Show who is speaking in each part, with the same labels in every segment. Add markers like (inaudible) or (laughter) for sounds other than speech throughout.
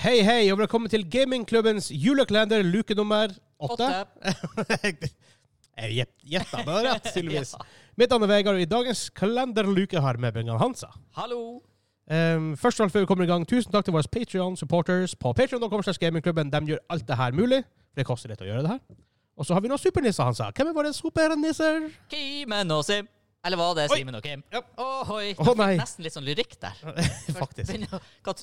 Speaker 1: Hei, hei, og velkommen til gamingklubbens julekalender, luke nummer åtte. (laughs) Jeg gjett- gjetta bare rett, tydeligvis. Mitt navn er Vegard, og i dagens kalenderluke har med Bengan Hansa.
Speaker 2: Hallo!
Speaker 1: Um, først og fremst før vi kommer i gang, tusen takk til våre Patreon-supporters på patreon.com. slash gamingklubben. De gjør alt det her mulig. For det koster litt å gjøre det her. Og så har vi noen supernisser, Hansa. Hvem er våre supernisser?
Speaker 2: Kimen og Sim. Eller var det
Speaker 1: Oi.
Speaker 2: Simen og Kim?
Speaker 1: Ja.
Speaker 2: Ohoi.
Speaker 1: Å, nei.
Speaker 2: Nesten litt sånn lyrikk der.
Speaker 1: Faktisk.
Speaker 2: Begynner å- hva-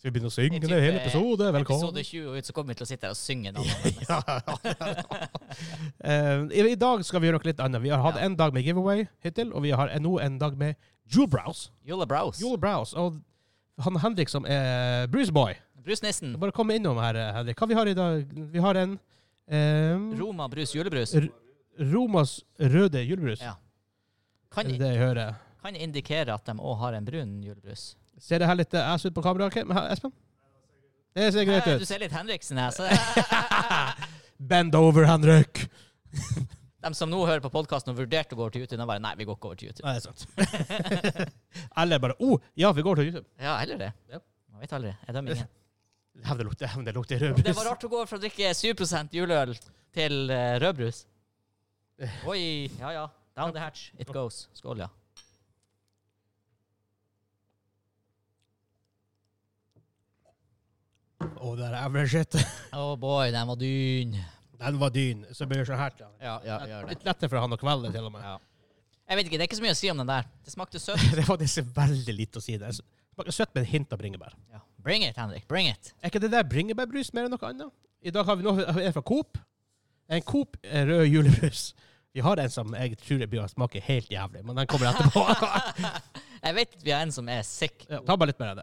Speaker 1: Så vi begynner å synge
Speaker 2: i
Speaker 1: det
Speaker 2: type-
Speaker 1: er hele episode. Velkommen.
Speaker 2: Episode 20 og ut, så kommer vi til å sitte her og synge nå.
Speaker 1: Eh, I i dag skal vi gjøre noe litt annet. Vi har hatt
Speaker 2: Ja.
Speaker 1: en dag med giveaway hittil, og vi har nå en dag med Jewel Browse.
Speaker 2: Jule Brows.
Speaker 1: Jewel Browse og han Henrik som er Bruce Boy.
Speaker 2: Brusnissen.
Speaker 1: Bare kom innom her, eh, Henrik. Hva vi har i dag? Vi har en eh,
Speaker 2: Roma brus julebrus.
Speaker 1: R- Romas røde julebrus.
Speaker 2: Ja.
Speaker 1: Det er
Speaker 2: Kan,
Speaker 1: det jeg hører.
Speaker 2: kan indikere at de òg har en brun julebrus.
Speaker 1: Ser det her litt eh, ass ut på kameraet, Kim- Her, Espen? Det ser greit
Speaker 2: Eh, Du
Speaker 1: ut.
Speaker 2: ser litt Henriksen her. så-
Speaker 1: (laughs) Bend over,
Speaker 2: (laughs)
Speaker 1: Henrik!
Speaker 2: De som nå hører på podkasten og vurderte å gå over til YouTube, de bare Nei, vi går ikke over til YouTube.
Speaker 1: Nei, det er sant. (laughs) Eller bare oh, ja, vi går til YouTube.
Speaker 2: Ja, heller det.
Speaker 1: Ja.
Speaker 2: Man vet aldri. Jeg dømmer ingen.
Speaker 1: Hevn det lukter hevn det lukter rødbrus.
Speaker 2: Det var rart å gå fra å drikke 7 juleøl til eh, (laughs) rødbrus. Oi. Ja, ja. Down the hatch. It goes. Skål, ja.
Speaker 1: Å, det der er average shit. (laughs)
Speaker 2: Oh boy, den var dyn.
Speaker 1: Den var dyn, så blir det sånn her til han.
Speaker 2: Ja, ja, gjør det.
Speaker 1: Litt lettere for han å kvelde, til og med.
Speaker 2: Ja. Jeg vet ikke, det er ikke så mye å si om den der. Det smakte søtt.
Speaker 1: (laughs) Det var disse veldig lite å si. Det smaker søtt med en hint av bringebær.
Speaker 2: (laughs) Ja. Bring it, Henrik. Bring (laughs) it.
Speaker 1: Er ikke det der bringebærbrus mer enn noe annet? I dag har vi noe en fra Coop. En Coop eh, rød julebrus. Vi har en som jeg tror jeg blir å smake helt jævlig, men den kommer etterpå.
Speaker 2: (laughs) Jeg vet vi har en som er sick.
Speaker 1: Ja, Ta bare litt mer av det.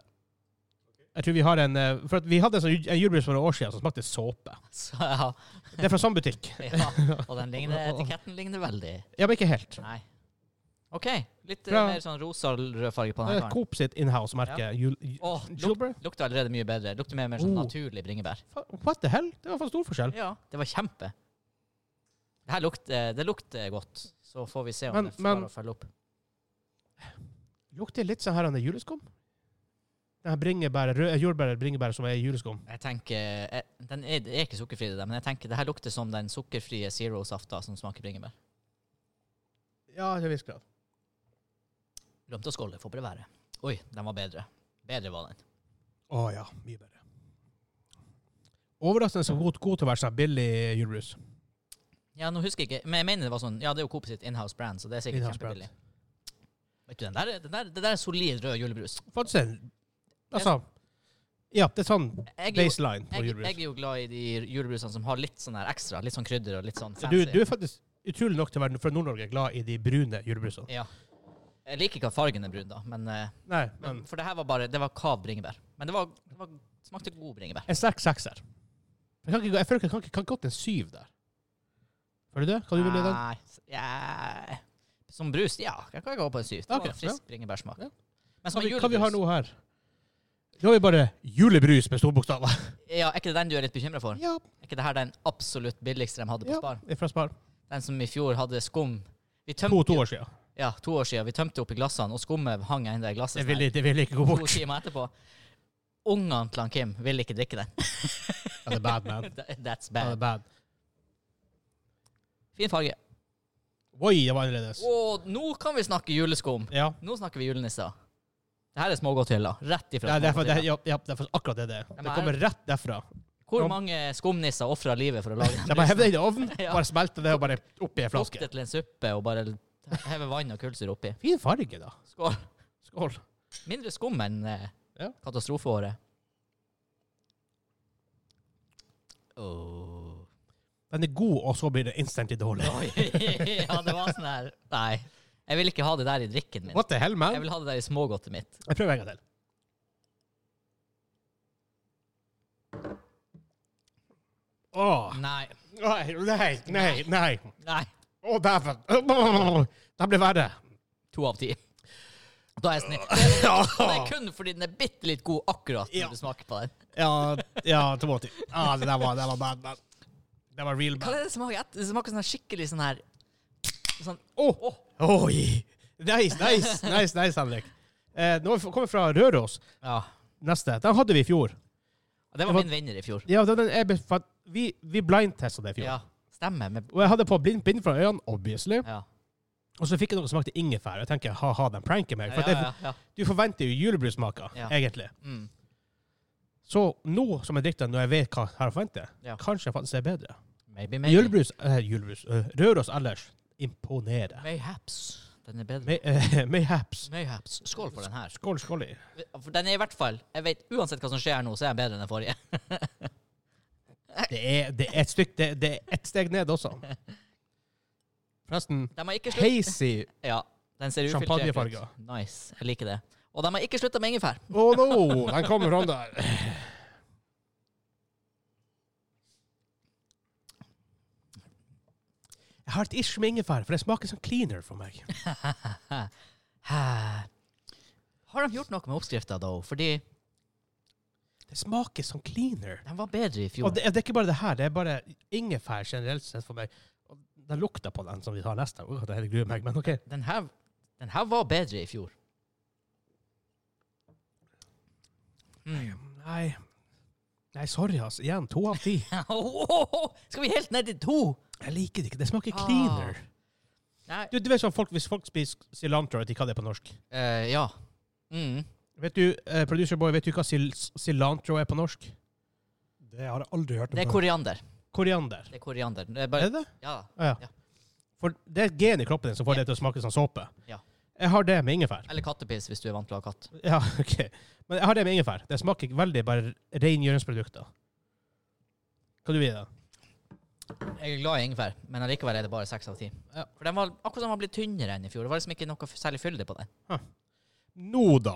Speaker 1: Jeg tror Vi har en, eh, for at vi hadde en, sånn, ju- en julebrus for noen år siden som smakte såpe.
Speaker 2: Så, (laughs) ja.
Speaker 1: Det er fra samme butikk.
Speaker 2: ja. Og den ligner, etiketten ligner veldig.
Speaker 1: Ja, men ikke helt.
Speaker 2: Nei. OK. Litt eh,
Speaker 1: Bra.
Speaker 2: mer sånn rosa-rød farge på
Speaker 1: Det
Speaker 2: den
Speaker 1: er
Speaker 2: her karen.
Speaker 1: Coop sitt inhouse-merke. jul- ju-
Speaker 2: Åh, luk-
Speaker 1: Julebrus.
Speaker 2: Lukter allerede mye bedre. Lukter mer, mer sånn
Speaker 1: Oh.
Speaker 2: naturlig bringebær.
Speaker 1: Fa- What the hell? Det var for stor forskjell.
Speaker 2: Ja, det var kjempe. Det her lukter, det lukter godt. Så får vi se om
Speaker 1: Men-
Speaker 2: det klarer
Speaker 1: men-
Speaker 2: å følge opp.
Speaker 1: Lukter litt sånn her av det juleskum. Den her bringebæret, røde jordbæret, bringebæret som er i juleskum.
Speaker 2: Jeg tenker, jeg, den er, det er ikke sukkerfri, det der, men jeg tenker det her lukter som den sukkerfrie Zero-safta som smaker bringebær.
Speaker 1: Ja, til en viss grad.
Speaker 2: Glemte å skåle, får bare være. Oi, den var bedre. Bedre var den.
Speaker 1: Å ja, mye bedre. Overraskende så god, god til å være sånn billig julebrus.
Speaker 2: Ja, nå husker jeg ikke, men jeg mener det var sånn, ja, det er jo Coop sitt inhouse brand, så det er sikkert
Speaker 1: Inhouse brand.
Speaker 2: kjempebillig. Vet du, den der, den der, det der er solid rød julebrus.
Speaker 1: Faktisk en Altså Ja, det er sånn
Speaker 2: Jeg er, jo,
Speaker 1: baseline på
Speaker 2: jeg, jeg
Speaker 1: julebrus.
Speaker 2: er jo glad i de julebrusene som har litt sånn her ekstra, litt sånn krydder og litt sånn
Speaker 1: Du,
Speaker 2: fancy.
Speaker 1: du er faktisk utrolig nok til å være fra Nord-Norge glad i de brune julebrusene.
Speaker 2: Ja. Jeg liker ikke at fargen er brun, da, men, eh,
Speaker 1: Nei, men
Speaker 2: men For det her var bare Det var kav bringebær. Men det, var, det var, smakte god bringebær.
Speaker 1: en sterk sekser. Jeg, kan ikke, gå- jeg føler ikke jeg kan, ikke- kan godt en syv der. Føler du det? Kan du ville den?
Speaker 2: Nei, s- ja. Som brus, ja. Jeg kan gå på en syv. Det
Speaker 1: Ok,
Speaker 2: var frisk bringebærsmak.
Speaker 1: Ja.
Speaker 2: Men som
Speaker 1: Hva
Speaker 2: en
Speaker 1: vi, hva vi
Speaker 2: Altså, julebrus
Speaker 1: har nå her? Nå har vi bare julebrus med
Speaker 2: (laughs)
Speaker 1: storbokstaver.
Speaker 2: Ja, Er ikke det den du er litt bekymra for?
Speaker 1: Ja,
Speaker 2: Er ikke det her den absolutt billigste de hadde på
Speaker 1: Ja.
Speaker 2: Spar?
Speaker 1: det er fra Spar.
Speaker 2: Den som i fjor hadde skum. Vi tømte,
Speaker 1: To, to år siden.
Speaker 2: Ja, to år siden. Vi tømte opp i glassene, og skummet hang ennå i glasset. Sånn
Speaker 1: Det vil, det vil ikke gå
Speaker 2: to
Speaker 1: bort.
Speaker 2: timer etterpå. Ungene til han Kim ville ikke drikke den.
Speaker 1: Ja, det er bad, man.
Speaker 2: That's
Speaker 1: Ja, det er
Speaker 2: (laughs) bad.
Speaker 1: bad.
Speaker 2: Fin farge.
Speaker 1: Oi, det var annerledes.
Speaker 2: Og nå kan vi snakke juleskum.
Speaker 1: Ja.
Speaker 2: Nå snakker vi julenisser. Det her er smågodthylla. Rett ifra
Speaker 1: Nei, det er for, det, er-
Speaker 2: smågodthylla.
Speaker 1: ja, ja, det er for akkurat det det er.
Speaker 2: er-
Speaker 1: Det kommer rett derfra.
Speaker 2: Hvor mange skumnisser ofra livet for å lage
Speaker 1: De bare hever det i ovnen,
Speaker 2: (laughs) Ja.
Speaker 1: bare smelter det og bare oppi ei
Speaker 2: Kokte
Speaker 1: flaske.
Speaker 2: til en suppe og bare heve vann og kullsyre oppi.
Speaker 1: Fin farge, da.
Speaker 2: Skål.
Speaker 1: Skål.
Speaker 2: Mindre skum enn eh,
Speaker 1: Ja.
Speaker 2: katastrofeåret. Åh.
Speaker 1: Den er god, og så blir det instantly dårlig.
Speaker 2: Oi. (laughs) ja, det var sånn her Nei. Jeg vil ikke ha det der i drikken min.
Speaker 1: What the hell,
Speaker 2: Jeg
Speaker 1: man?
Speaker 2: vil ha det der i smågodtet mitt.
Speaker 1: Jeg prøver en gang til. Åh.
Speaker 2: Nei.
Speaker 1: Nei, nei, nei. nei.
Speaker 2: Nei.
Speaker 1: Å, dæven. Åh, Det ble verre.
Speaker 2: To av ti. Da er jeg
Speaker 1: (laughs)
Speaker 2: snill. Det er kun fordi den er bitte litt god akkurat når
Speaker 1: Ja.
Speaker 2: du smaker på den.
Speaker 1: Ja, ja to måter. Ja, det der var, det var bad, man. Det var real
Speaker 2: Hva
Speaker 1: bad.
Speaker 2: er det det smaker etter? Det smaker sånn her skikkelig sånn her sånn,
Speaker 1: Oh. Oi! Nice, nice, nice, nice, Henrik. Eh, nå har vi kommet fra Røros.
Speaker 2: Ja.
Speaker 1: Neste. Den hadde vi i fjor.
Speaker 2: Det var
Speaker 1: Det var-
Speaker 2: min vinner i fjor.
Speaker 1: Ja, det var den jeg be- for at vi, vi blindtesta det i fjor.
Speaker 2: Ja, stemmer. Med,
Speaker 1: Og jeg hadde på blind bind fra øynene, obviously.
Speaker 2: ja.
Speaker 1: Og så fikk jeg noe som smakte ingefær. Og jeg tenker, ha-ha, den pranker meg.
Speaker 2: Ja,
Speaker 1: For at
Speaker 2: ja,
Speaker 1: jeg,
Speaker 2: ja, ja.
Speaker 1: du forventer jo julebrussmaker,
Speaker 2: Ja.
Speaker 1: egentlig.
Speaker 2: Mm.
Speaker 1: Så nå som jeg drikker den, når jeg vet hva jeg har å forvente,
Speaker 2: Ja.
Speaker 1: kanskje jeg faktisk er bedre.
Speaker 2: Maybe, maybe.
Speaker 1: Julebrus, eh, julebrus eh, Røros ellers imponerer.
Speaker 2: Mayhaps. Den er bedre.
Speaker 1: May- eh, Mayhaps.
Speaker 2: Mayhaps. Skål for den her.
Speaker 1: Skål, skål i.
Speaker 2: For den er i hvert fall Jeg vet uansett hva som skjer nå, så er den bedre enn den forrige.
Speaker 1: Det er, det er et stykke, det, det er ett steg ned
Speaker 2: (laughs)
Speaker 1: også. Forresten,
Speaker 2: De har ikke slutt...
Speaker 1: hazy
Speaker 2: Ja, den ser ufiltrert ut.
Speaker 1: Champagnefarger.
Speaker 2: Nice. Jeg liker det. Og de har ikke slutta med ingefær.
Speaker 1: Å oh, no, den kommer fram der. Jeg har et ish med ingefær, for det smaker som cleaner for meg.
Speaker 2: Har de gjort noe med oppskrifta, da? Fordi
Speaker 1: Det smaker som cleaner.
Speaker 2: den var bedre i fjor.
Speaker 1: Og det, det er ikke bare det her, det er bare ingefær generelt sett for meg. Og Den lukter på den som vi tar neste. Oh, det hele gruer meg, men ok.
Speaker 2: Den, her, den her var bedre i fjor. Mm. (laughs)
Speaker 1: Nei, Nei sorry, altså. Igjen, to av ti.
Speaker 2: Skal vi helt ned i to?
Speaker 1: Jeg liker det ikke. Det smaker
Speaker 2: Ah.
Speaker 1: cleaner.
Speaker 2: Nei.
Speaker 1: Du, du vet sånn folk, Hvis folk spiser cilantro, vet de hva det er på norsk?
Speaker 2: Eh, ja. Mm.
Speaker 1: Vet du, eh, producer boy, vet du hva sil cilantro er på norsk?
Speaker 3: Det har jeg aldri hørt om.
Speaker 2: Det er koriander.
Speaker 1: Koriander.
Speaker 2: Det er koriander. Det er
Speaker 1: Er
Speaker 2: bare,
Speaker 1: det det?
Speaker 2: ja.
Speaker 1: Ah,
Speaker 2: Ja.
Speaker 1: ja. For det er et gen i kroppen din som får det til å smake som såpe.
Speaker 2: Ja.
Speaker 1: Jeg har det med ingefær.
Speaker 2: Eller kattepiss, hvis du er vant til å ha katt.
Speaker 1: Ja, (laughs) ok. Men jeg har det med ingefær. Det smaker veldig bare rengjøringsprodukter. Hva du gi det?
Speaker 2: Jeg er glad i ingefær, men allikevel er det bare seks av ti.
Speaker 1: Ja.
Speaker 2: For den var akkurat som den var blitt tynnere enn i fjor. Det var liksom ikke noe f- særlig fylde på den.
Speaker 1: Nå da.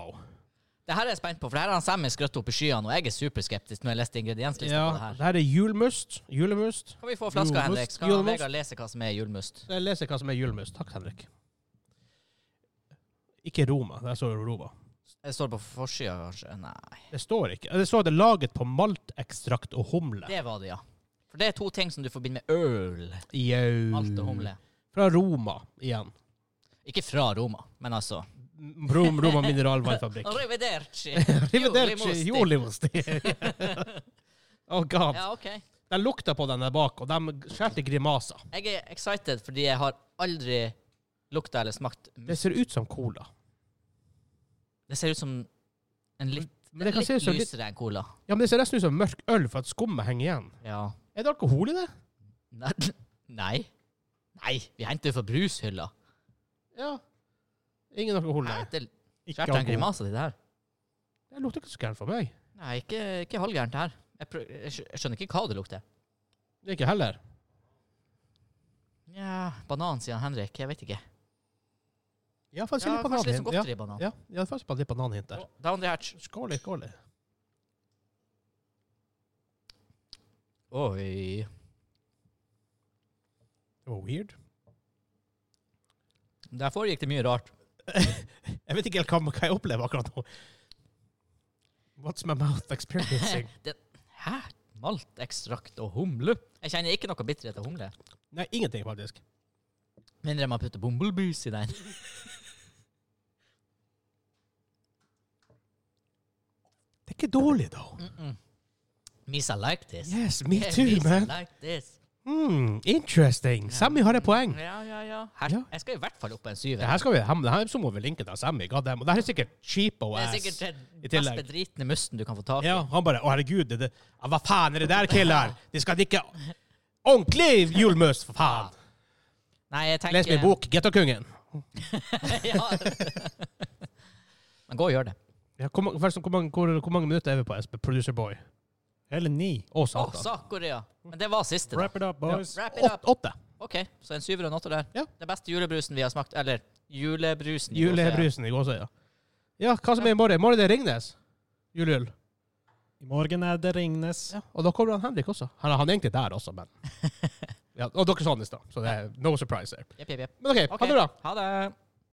Speaker 2: Det her er jeg spent på, for det her har han Sammy skrøtt opp i skyene, og jeg er superskeptisk når jeg leste ingredienslista
Speaker 1: Ja,
Speaker 2: på det her.
Speaker 1: det her er julmust. Julemust.
Speaker 2: Kan vi få flaska,
Speaker 1: Julmust,
Speaker 2: Henrik? Skal
Speaker 1: julmust.
Speaker 2: Vegard lese hva som er julmust?
Speaker 1: Jeg leser hva som er julmust. Takk, Henrik. Ikke Roma. Der står jo Roma.
Speaker 2: Det står på forsida, kanskje? Nei.
Speaker 1: Det står ikke. Det står det er laget på maltekstrakt og humle.
Speaker 2: Det var det, ja. For det er to ting som du forbinder med øl.
Speaker 1: Jau.
Speaker 2: Alt og humle.
Speaker 1: Fra Roma igjen.
Speaker 2: Ikke fra Roma, men altså
Speaker 1: Rom, Roma mineralvannfabrikk.
Speaker 2: (laughs) Arrivederci!
Speaker 1: Arrivederci,
Speaker 2: Jolimosti.
Speaker 1: jolimosti.
Speaker 2: (laughs)
Speaker 1: oh god.
Speaker 2: Ja, OK.
Speaker 1: De lukta på den der bak, og de skjærte grimaser.
Speaker 2: Jeg er excited fordi jeg har aldri lukta eller smakt
Speaker 1: Det ser ut som cola.
Speaker 2: Det ser ut som en litt,
Speaker 1: Men det kan
Speaker 2: litt
Speaker 1: se ut som litt,
Speaker 2: lysere enn cola.
Speaker 1: ja, men det ser nesten ut som mørk øl for at skummet henger igjen.
Speaker 2: Ja.
Speaker 1: Er det alkohol i det?
Speaker 2: Nei. (laughs) Nei. Nei, vi henter det fra brushylla.
Speaker 1: Ja. Ingen alkohol, nei.
Speaker 2: Hæ? Det
Speaker 1: Ikke
Speaker 2: skjærte en
Speaker 1: alkohol.
Speaker 2: grimase til det her.
Speaker 1: Det lukter ikke så gærent for meg.
Speaker 2: Nei, ikke, ikke halvgærent her. Jeg, prø jeg skj- jeg skjønner ikke hva det lukter.
Speaker 1: Det er ikke heller.
Speaker 2: Nja, banan, sier han Henrik. Jeg vet ikke.
Speaker 1: Ja, faktisk
Speaker 2: Ja,
Speaker 1: litt
Speaker 2: kanskje litt som
Speaker 1: bananhint. Ja,
Speaker 2: godteri i banan.
Speaker 1: ja, ja, faktisk bare litt bananhint der.
Speaker 2: Å, Down the hatch.
Speaker 1: Skål i, skål i.
Speaker 2: Oi.
Speaker 1: Det var weird.
Speaker 2: Der foregikk det mye rart.
Speaker 1: Jeg vet ikke helt hva, hva jeg opplever akkurat nå. What's my mouth experiencing?
Speaker 2: Det, hæ? Maltekstrakt og humle? Jeg kjenner ikke noe bitterhet av humle.
Speaker 1: Nei, ingenting, faktisk.
Speaker 2: Mindre man putter bumblebees i den. (laughs)
Speaker 1: Det er ikke dårlig, da.
Speaker 2: Misa like this.
Speaker 1: Yes, me
Speaker 2: Yeah,
Speaker 1: too,
Speaker 2: Misa
Speaker 1: man.
Speaker 2: like this.
Speaker 1: Hmm, interesting. Sammy har et poeng.
Speaker 2: Ja, ja, ja. Her,
Speaker 1: Ja.
Speaker 2: Jeg skal i hvert fall opp på en syver.
Speaker 1: Det her skal vi ham, det her så må vi linke til Sammy. God damn. Og det her er sikkert cheapo
Speaker 2: Det
Speaker 1: ass.
Speaker 2: er sikkert den
Speaker 1: i
Speaker 2: mest
Speaker 1: tillegg.
Speaker 2: bedritne musten du kan få tak i.
Speaker 1: Ja, han bare Å, herregud, det, det, ja, hva faen er det der, killer? De skal drikke ordentlig julmust, for faen!
Speaker 2: Nei, jeg tenker
Speaker 1: Les min bok, (laughs) Gettokongen.
Speaker 2: (laughs) ja. Men gå og gjør det.
Speaker 1: Ja, hvor, mange- forresten, hvor, mange- hvor, hvor mange minutter er vi på, Espen? Producer Boy?
Speaker 3: Hele ni.
Speaker 1: Å,
Speaker 2: Åh,
Speaker 1: satan.
Speaker 2: Sakkorea. Men det var siste, da.
Speaker 3: Wrap it up, boys.
Speaker 2: Wrap it
Speaker 1: Åt-
Speaker 2: up.
Speaker 1: Åtte.
Speaker 2: OK, så en syver og en åtter der.
Speaker 1: Ja.
Speaker 2: Det beste julebrusen vi har smakt. Eller julebrusen. i går, så jeg-
Speaker 1: Julebrusen i gåsøya. Ja, hva som er i morgen? I morgen er det Ringnes. Juleøl.
Speaker 3: I morgen er det Ringnes.
Speaker 1: Ja, og da kommer han Henrik også. Han, han er egentlig der også,
Speaker 3: (laughs)
Speaker 1: men ja, Og dere sa han i stad, så det er no surprise her.
Speaker 2: Jepp, jepp, jepp.
Speaker 1: Men OK,
Speaker 2: Ok,
Speaker 1: ha det bra.
Speaker 2: Ha det.